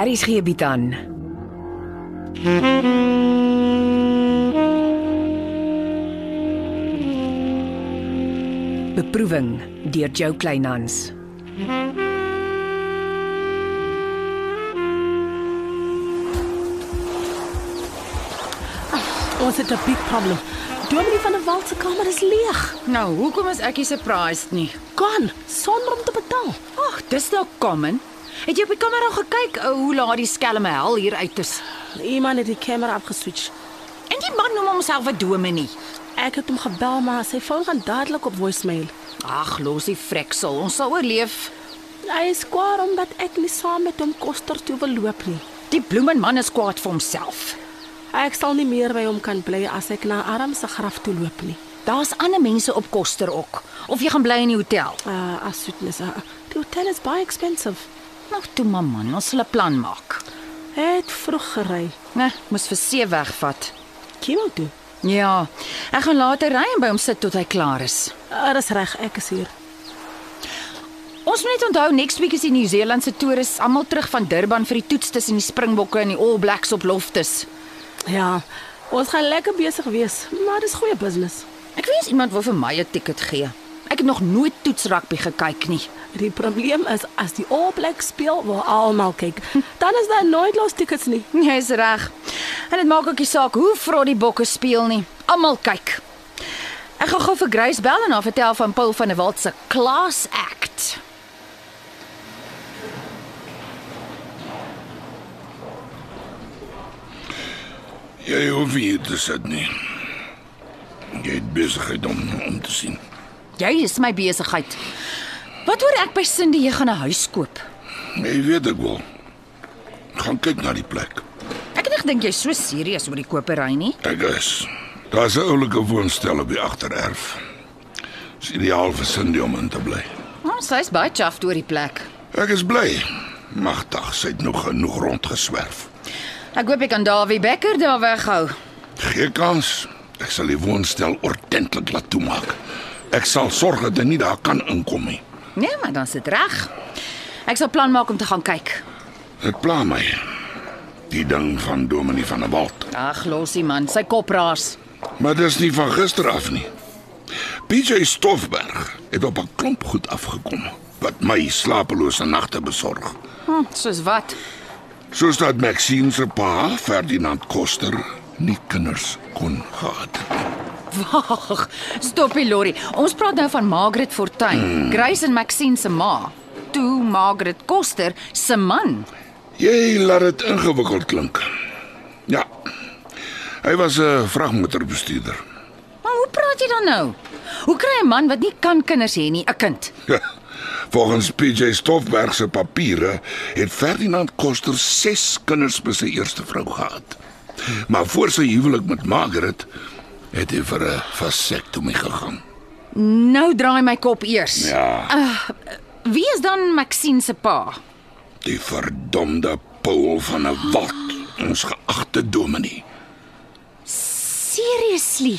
Aries gee bied aan. Beproeving deur Jo Kleinhans. Ons het 'n big problem. Dominee van der Walt se kamer is leeg. Nou, hoekom is ek nie surprised nie? Gaan sonder om te betaal. Ag, dis nou common. Het jy op die kamera kyk ou, hoe laat die skelme hel hier uit is? Iemand het die kamera afgeswitch. En die man noem homself 'n dominee. Ek het hom gebel maar sy foon gaan dadelik op voicemail. Ag, los die freksel. Ons sal oorleef. Hy is kwaad omdat ek nie saam met hom koster toe wil loop nie. Die bloemenman is kwaad vir homself. Ek sal nie meer by hom kan bly as ek na Arm se graf toe loop nie. Daar's ander mense op koster ook. Of jy gaan bly in die hotel. Uh, as soetnis. Uh, die hotel is baie expensive. Nou toe maar man, ons sal 'n plan maak. Hy het vroeg gery. Nee, moes vir see wegvat. Kimo toe. Ja, ek gaan later ry en by hom sit tot hy klaar is. Er is reg, ek is hier. Ons moet net onthou next week is die Nieu-Seelandse toeriste almal terug van Durban vir die toets tussen die Springbokke en die All Blacks op Loftus. Ja, ons gaan lekker besig wees, maar dis goeie business. Ek wens iemand wil vir my 'n ticket gee. Ek het nog nooit toetsrugby gekyk nie. Die probleem is as die All Blacks speel, wil almal kyk. Dan is daar nooit los tickets nie. Jy's reg. En dit maak ook nie saak hoe vrot die bokke speel nie. Almal kyk. Ek gaan gou vir Grace bel en haar vertel van Paul van der Walt se class act. Ja, Jy hoef nie hier te sit nie. Jy het besigheid om om te sien. Jy is my besigheid. Wat hoor ek by Cindy jy gaan 'n huis koop? Jy weet ek wil. Gaan kyk na die plek. Ek het nie gedink jy's so serieus oor die kopery nie. Ek is. Daar's 'n oulike woonstel op die agtererf. Dis ideaal vir Cindy om in te bly. Nou, sy's baie chuffed oor die plek. Ek is bly. Magtig, sy het nog genoeg rondgeswerf. Ek hoop ek kan Dawie Becker daar weghou. Geen kans. Ek sal die woonstel ordentlik laat toemaak. Ek sal sorg dat hy nie daar kan inkom nie. Nee, maar dan sit reg. Ek sal plan maak om te gaan kyk. Dit pla my. Die ding van Dominie van der Walt. Ag, losie man, sy kop raas. Maar dis nie van gister af nie. PJ Stoffberg het op 'n klomp goed afgekom wat my slapelose nagte besorg. Hm, soos wat? Soos dat Maxine se pa, Ferdinand Koster, nie kinders kon gehad het. nie. Wag, stop die lorry. Ons praat nou van Margaret Fortuin, Grace en Maxine se ma. Toe Margaret Koster se man. Jy laat dit ingewikkeld klink. Ja. Hy was 'n vragmotorbestuurder. Maar hoe praat jy dan nou? Hoe kry 'n man wat nie kan kinders hê nie 'n kind? Volgens PJ Stoffberg se papiere het Ferdinand Koster 6 kinders by sy eerste vrou gehad. Maar voor sy huwelik met Margaret het hy vir 'n vasektomie gegaan. Nou draai my kop eers. Ja. Wie is dan Maxine se pa? Die verdomde Paul van 'n wat, ons geagte dominee. Seriously.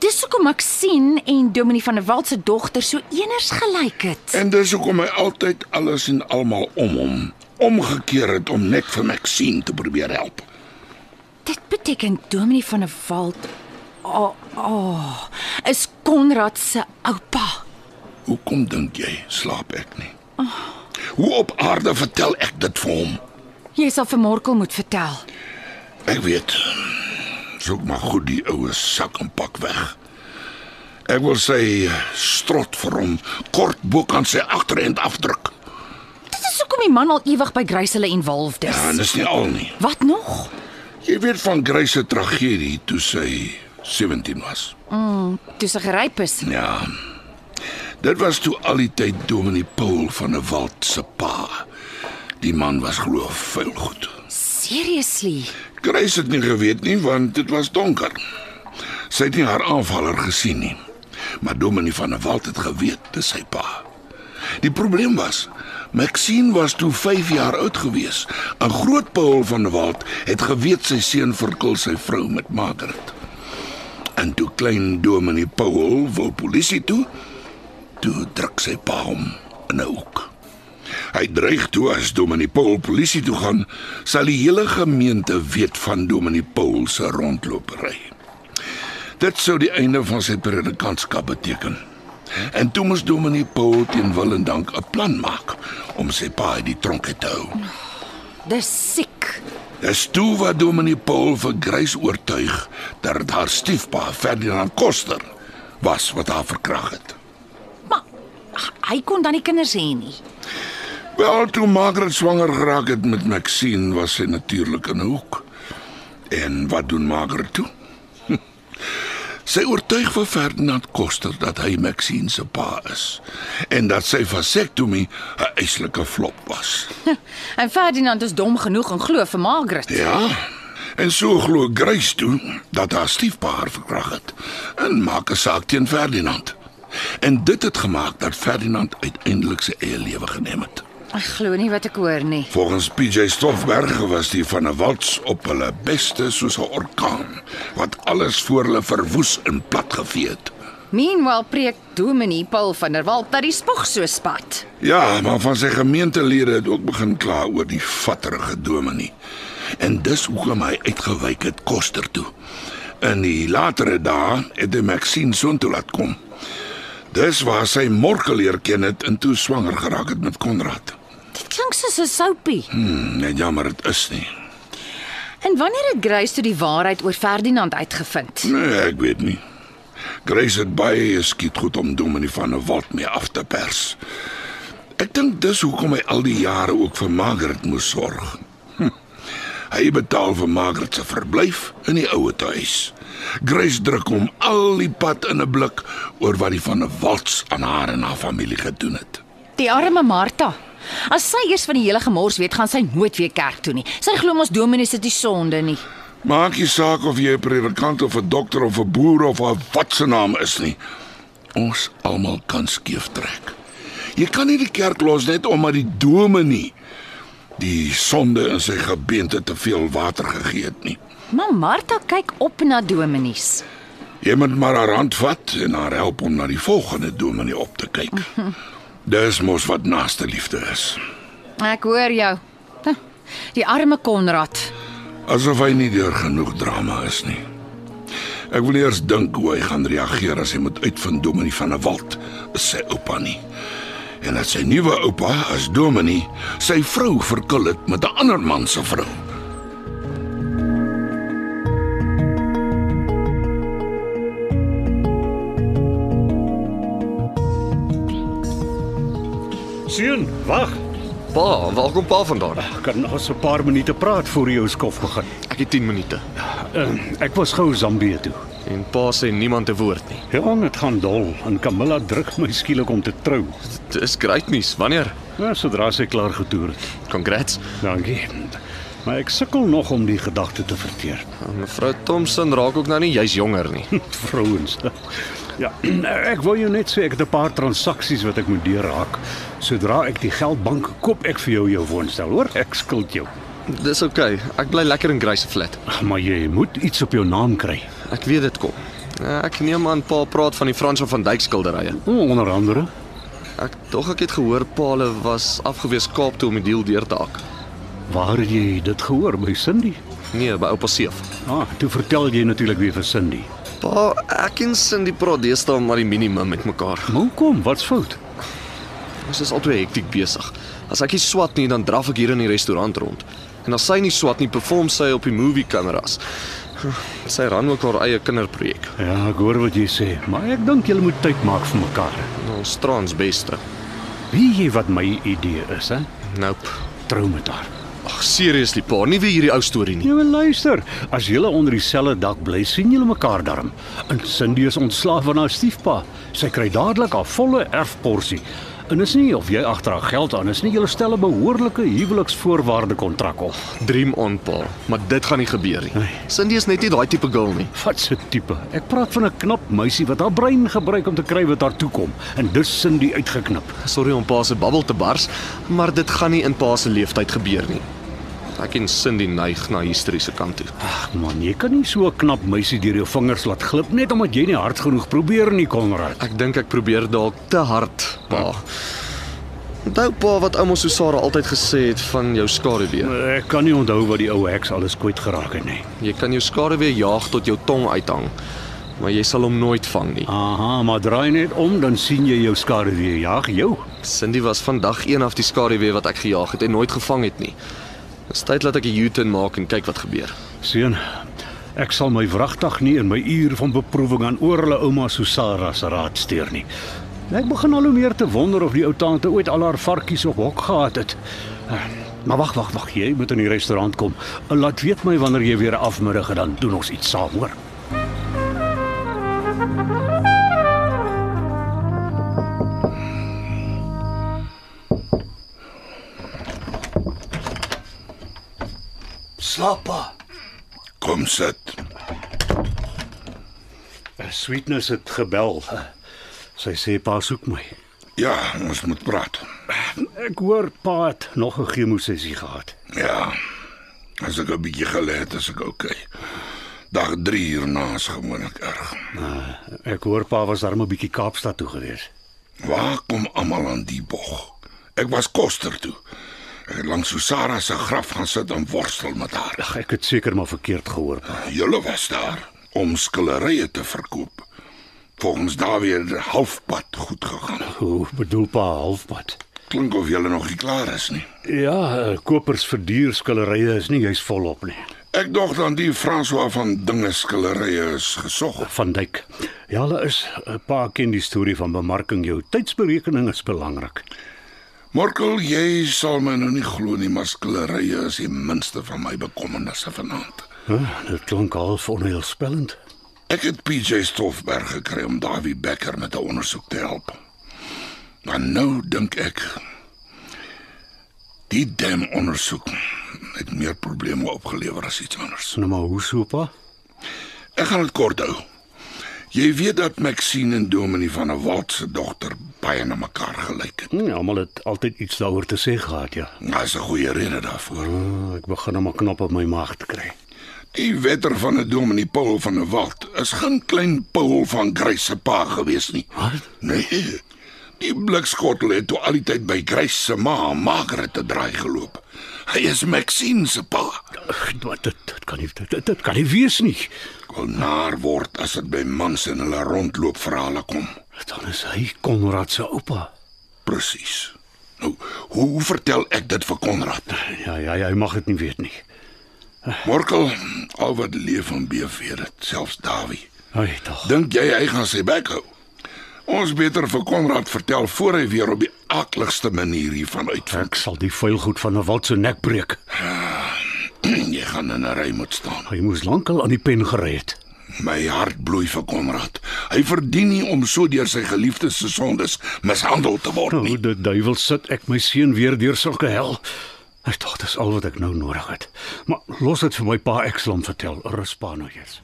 Dis hoekom Maxine en Dominie van der Walt se dogter so eners gelyk het. En dis hoekom hy altyd alles en almal om hom omgekeer het om net vir Maxine te probeer help. Dit beteken Dominie van der Walt oh, oh, is Konrad se oupa. Hoekom dink jy slaap ek nie? Hoe op aarde vertel ek dit vir hom? Jy sal vir Morkel moet vertel. Ek weet. Soek maar goed die oue sak en pak weg. Ek wil sy strot vir hom kort bo kan sy agterend afdruk. Dit is hoekom die man al ewig by Graysele en Wolf is. Ja, en dis nie al nie. Wat nog? Jy weet van Grace se tragedie toe sy 17 was. Toe sy geryp is. Ja. Dit was toe al die tyd Dominee Paul van 'n Walt se pa. Die man was glo veel goed. Seriously. Grace het nie geweet nie want dit was donker. Sy het nie haar aanvaller gesien nie. Maar Dominee van 'n Walt het geweet dis sy pa. Die probleem was Maxine was toe 5 jaar oud gewees. 'n Groot Paul van 'n Walt het geweet sy seun verkil sy vrou met Margaret. En toe klein Dominee Paul wou polisie toe, toe druk sy pa hom in 'n hoek. Hy dreig toe as Dominee Paul polisie toe gaan, sal die hele gemeente weet van Dominee Paul se rondlopery. Dit sou die einde van sy predikantskap beteken. En toe moes Dominee Paul teen wil en dank 'n plan maak om sy pa uit die tronk te hou. Dis siek. Dis toe wat Dominee Paul vir Grace oortuig dat haar stiefpa Ferdinand Koster was wat haar verkragt het. Maar ag, hy kon dan nie kinders hê nie. Wel, toe Margaret swanger geraak het met Maxine, was sy natuurlik in 'n hoek. En wat doen Margaret toe? sy oortuig vir Ferdinand Koster dat hy Maxine se pa is en dat sy vasektomie 'n eislike flop was. En Ferdinand is dom genoeg en glo vir Margaret. Ja. En so glo Grace toe dat haar stiefpa haar verkragt het en maak 'n saak teen Ferdinand. En dit het gemaak dat Ferdinand uiteindelik sy eie lewe geneem het. Ek glo nie wat ek hoor nie. Volgens PJ Stoffberg was die van 'n walts op hulle beste soos 'n orkaan wat alles voor hulle verwoes en platgevee het. Meanwhile preek Dominee Paul van der Walt dat die spog so spat. Ja, maar van sy gemeentelede het ook begin kla oor die vatterige dominee. En dis hoekom hy uitgewyk het Koster toe. In die latere dae het hy Maxine Sonto laat kom. Dis waar sy Morkel leer ken het en toe swanger geraak het met Konrad. Dit klink soos 'n soupie. Hmm, net jammer dit is nie. En wanneer het Grace toe die waarheid oor Ferdinand uitgevind? Nee, ek weet nie. Grace het baie geskiet goed om Dominee van der Walt mee af te pers. Ek dink dis hoekom hy al die jare ook vir Margaret moes sorg. Hm. Hy betaal vir Margaret se verblyf in die ouete huis. Grace druk hom al die pad in 'n blik oor wat die van der Walts aan haar en haar familie gedoen het. Die arme Martha. As sy eers van die hele gemors weet, gaan sy nooit weer kerk toe nie. Sy glo mos Dominee se die sonde nie. Maak nie saak of jy 'n predikant of 'n dokter of 'n boer of 'n wat se naam is nie. Ons almal kan skeef trek. Jy kan nie die kerk los net omdat die dominee die sonde in sy gebeente te veel water gegee het nie. Maar Martha kyk op na Dominees. Jy moet maar haar hand vat en haar help om na die volgende dominee op te kyk. Dis mos wat naaste liefde is. Ek hoor jou. Huh, Die arme Konrad. Asof hy nie deur genoeg drama is nie. Ek wil eers dink hoe hy gaan reageer as hy moet uitvind Dominee van der Walt is sy oupa nie. En dat sy nuwe oupa as Dominee sy vrou verkil het met 'n ander man se vrou. Seun, wag. Pa, waar kom pa vandaan? Ek kan nog so 'n paar minute praat voor jy jou skof gegaan. Ek het 10 minute. Uh, ek was gou Zambië toe. En pa sê niemand 'n woord nie. Ja, dit gaan dol en Camilla druk my skielik om te trou. Dit is great nuus. Wanneer? Nou sodra sy klaar getoer het. Congrats. Dankie. Maar ek sukkel nog om die gedagte te verteer. Ah, Mevrou Thompson raak ook nou nie juis jonger nie. Vrouens. Ja, ek wou jou net sê ek het 'n paar transaksies wat ek moet deurraak. Sodra ek die geldbank koop ek vir jou jou woonstel, hoor? Ek skuld jou. Dis oukei. Okay. Ek bly lekker in Grace se flat. Maar jy moet iets op jou naam kry. Ek weet dit kom. Eh, Ek neem aan pa praat van die Frans van Dyk skilderye. Hmm, Onder andere Ek dog ek het gehoor pa hulle was afgewees Kaap toe om die deal deur te hak. Waar het jy dit gehoor by Cindy? Nee, by oupa Seef. Ah, toe vertel jy natuurlik weer vir Cindy. Pa, ek en Cindy praat deesdae maar die minimum met mekaar. Maar Hoekom? Wat's fout? Ons is altyd hektiek besig. As ek nie swat nie, dan draf ek hier in die restaurant rond. En as sy nie swat nie, perform sy op die movie kameras. Sy ran ook haar eie kinderprojek. Ja, ek hoor wat jy sê, maar ek dink julle moet tyd maak vir mekaar. Ons straans beste. Weet jy wat my idee is, hè? Nope. Trou met haar. Ag, seriously pa, nie weer hierdie ou storie nie. Nou maar luister, as julle onder dieselfde dak bly, sien julle mekaar darm. En Cindy is ontslaaf van haar stiefpa. Sy kry dadelik haar volle erfporsie. En is nie of jy agter haar geld aan is nie, julle stel 'n behoorlike huweliksvoorwaarde kontrak op. Dream on pa, maar dit gaan nie gebeur nie. Cindy is net nie daai tipe girl nie. Wat 'n tipe. Ek praat van 'n knap meisie wat haar brein gebruik om te kry wat haar toekom en dus sin die uitgeknip. Sorry om pa se babbel te bars, maar dit gaan nie in pa se leeftyd gebeur nie. Ek en Cindy neig na historiese kant toe. Ag man, jy kan nie so 'n knap meisie deur jou vingers laat glip net omdat jy nie hard genoeg probeer nie, Konrad. Ek dink ek probeer dalk te hard, pa. Onthou pa wat ouma Susara altyd gesê het van jou skaduwee. Ek kan nie onthou wat die ou heks alles kwyt geraak het nie. Jy kan jou skaduwee jaag tot jou tong uithang, maar jy sal hom nooit vang Ja. nie. Aha, maar draai net om dan sien jy jou skaduwee jag jou. Cindy was vandag een af die skaduwee wat ek gejaag het en nooit gevang het nie. Dis tyd dat ek 'n U-turn maak en kyk wat gebeur. Seun, ek sal my wragtig nie in my uur van beproewing aan oorle ouma Susara se raad steur nie. Ek begin al hoe meer te wonder of die ou tante ooit al haar varkies op hok gehad het. Eh, Maar wag, wag, wag, jy moet in die restaurant kom. Eh, Laat weet my wanneer jy weer 'n afmiddag het, dan doen ons iets saam, hoor. Slappa. Kom sit. Eh, Sweetness het gebel. Sy sê pa soek my. Ja, ons moet praat. Ek hoor pa het nog 'n chemosessie gehad. Ja. As ek 'n bietjie gelê het, is ek okay. Dag 3 hierna is gewoonlik erg. Ek hoor pa was darm 'n bietjie Kaapstad toe gewees. Waar kom almal aan die bog? Ek was koster toe. Ek het langs Susara se graf gaan sit en worstel met haar. Ag, ek het seker maar verkeerd gehoor. Pa. Julle was daar om skillerye te verkoop. Volgens Dawie het dit halfpad goed gegaan. Hoe bedoel pa halfpad? Klink of julle nog nie klaar is nie. Ja, eh, kopers vir dierskillerye is nie juis volop nie. Ek dog dan die François van dinge skillerye is gesog. Eh, Van Dyk. Ja, hulle is eh, pa ken die storie van bemarking. Jou tydsberekening is belangrik. Morkel, jy sal my nou nie glo nie, maar skillerye is die minste van my bekommernisse vanaand. Huh, Eh, dit klink half onheilspellend. Ek het PJ Stoffberg gekry om Davie Becker met 'n ondersoek te help. Maar nou dink ek die dam ondersoek het meer probleme opgelewer as iets anders. Nou maar hoe so pa? Ek gaan dit kort hou. Jy weet dat Maxine en Dominie van der Walt se dogter baie na mekaar gelyk het. Hm, almal het altyd iets daaroor te sê gehad, ja. Daar's 'n goeie rede daarvoor. Ah, Ek begin nou maar knop op my maag te kry. Die wetter van 'n Dominie Paul van der Walt is geen klein Paul van Grace se pa gewees nie. Wat? Nee. Die blikskottel het toe al die tyd by Grace se ma Margaret te draai geloop. Hy is Maxine se pa. Wat dit dit kan nie dit, dit kan nie wees nie. Kon naar word as dit by mans en hulle rondloop verhale kom. Dan is hy Konrad se oupa. Presies. Nou, hoe vertel ek dit vir Konrad? Ja ja, ja, hy mag dit nie weet nie. Morkel, al wat leef van BV dit, selfs Dawie. Hy tog. Dink jy hy gaan sy bek hou? Ons beter vir Konrad vertel voor hy weer op die akligste manier hiervan uitvind. Ek sal die vuil goed van 'n wat se nek breek. Jy gaan in 'n ry moet staan. Hy moes lankal aan die pen gery het. My hart bloei vir Konrad. Hy verdien nie om so deur sy geliefdes se sondes mishandel te word nie. Nou, die duiwel sit ek my seun weer deur sulke hel. Ek dink dis al wat ek nou nodig het. Maar los dit vir my pa Exlam vertel, rus pa nou eers.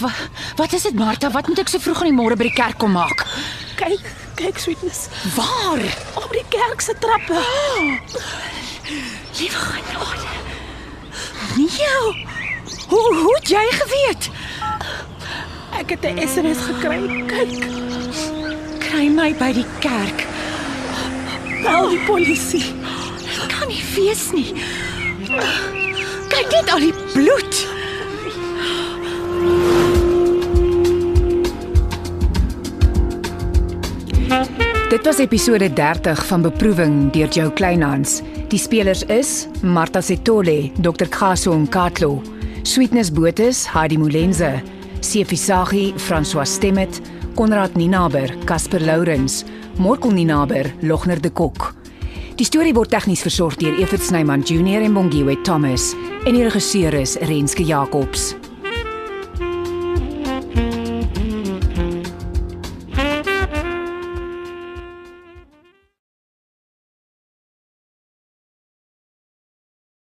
Wa, wat is dit Martha? Wat moet ek so vroeg in die môre by die kerk kom maak? Kyk, kyk sweetness. Waar? Ah. Op die kerk se trappe. Liewe genade. Nee. Hoe hoe het jy geweet? Ek het 'n SMS gekry. Kyk, Kry my by die kerk. bel die polisie. Dit kan nie wees nie. Kyk net al die bloed. Dit was episode 30 van Beproewing deur Jo Kleinhans. Die spelers is Martha Setole, Dr. Khaso Nkatlo, Sweetness Botus, Heidi Molenze, Sefisagi, François Stemmet, Konrad Ninaber, Casper Lourens, Morkel Ninaber, Logner de Kok. Die storie word tegnies versorg deur Evert Snyman Junior en Bongwe Thomas en die regisseur is Renske Jacobs.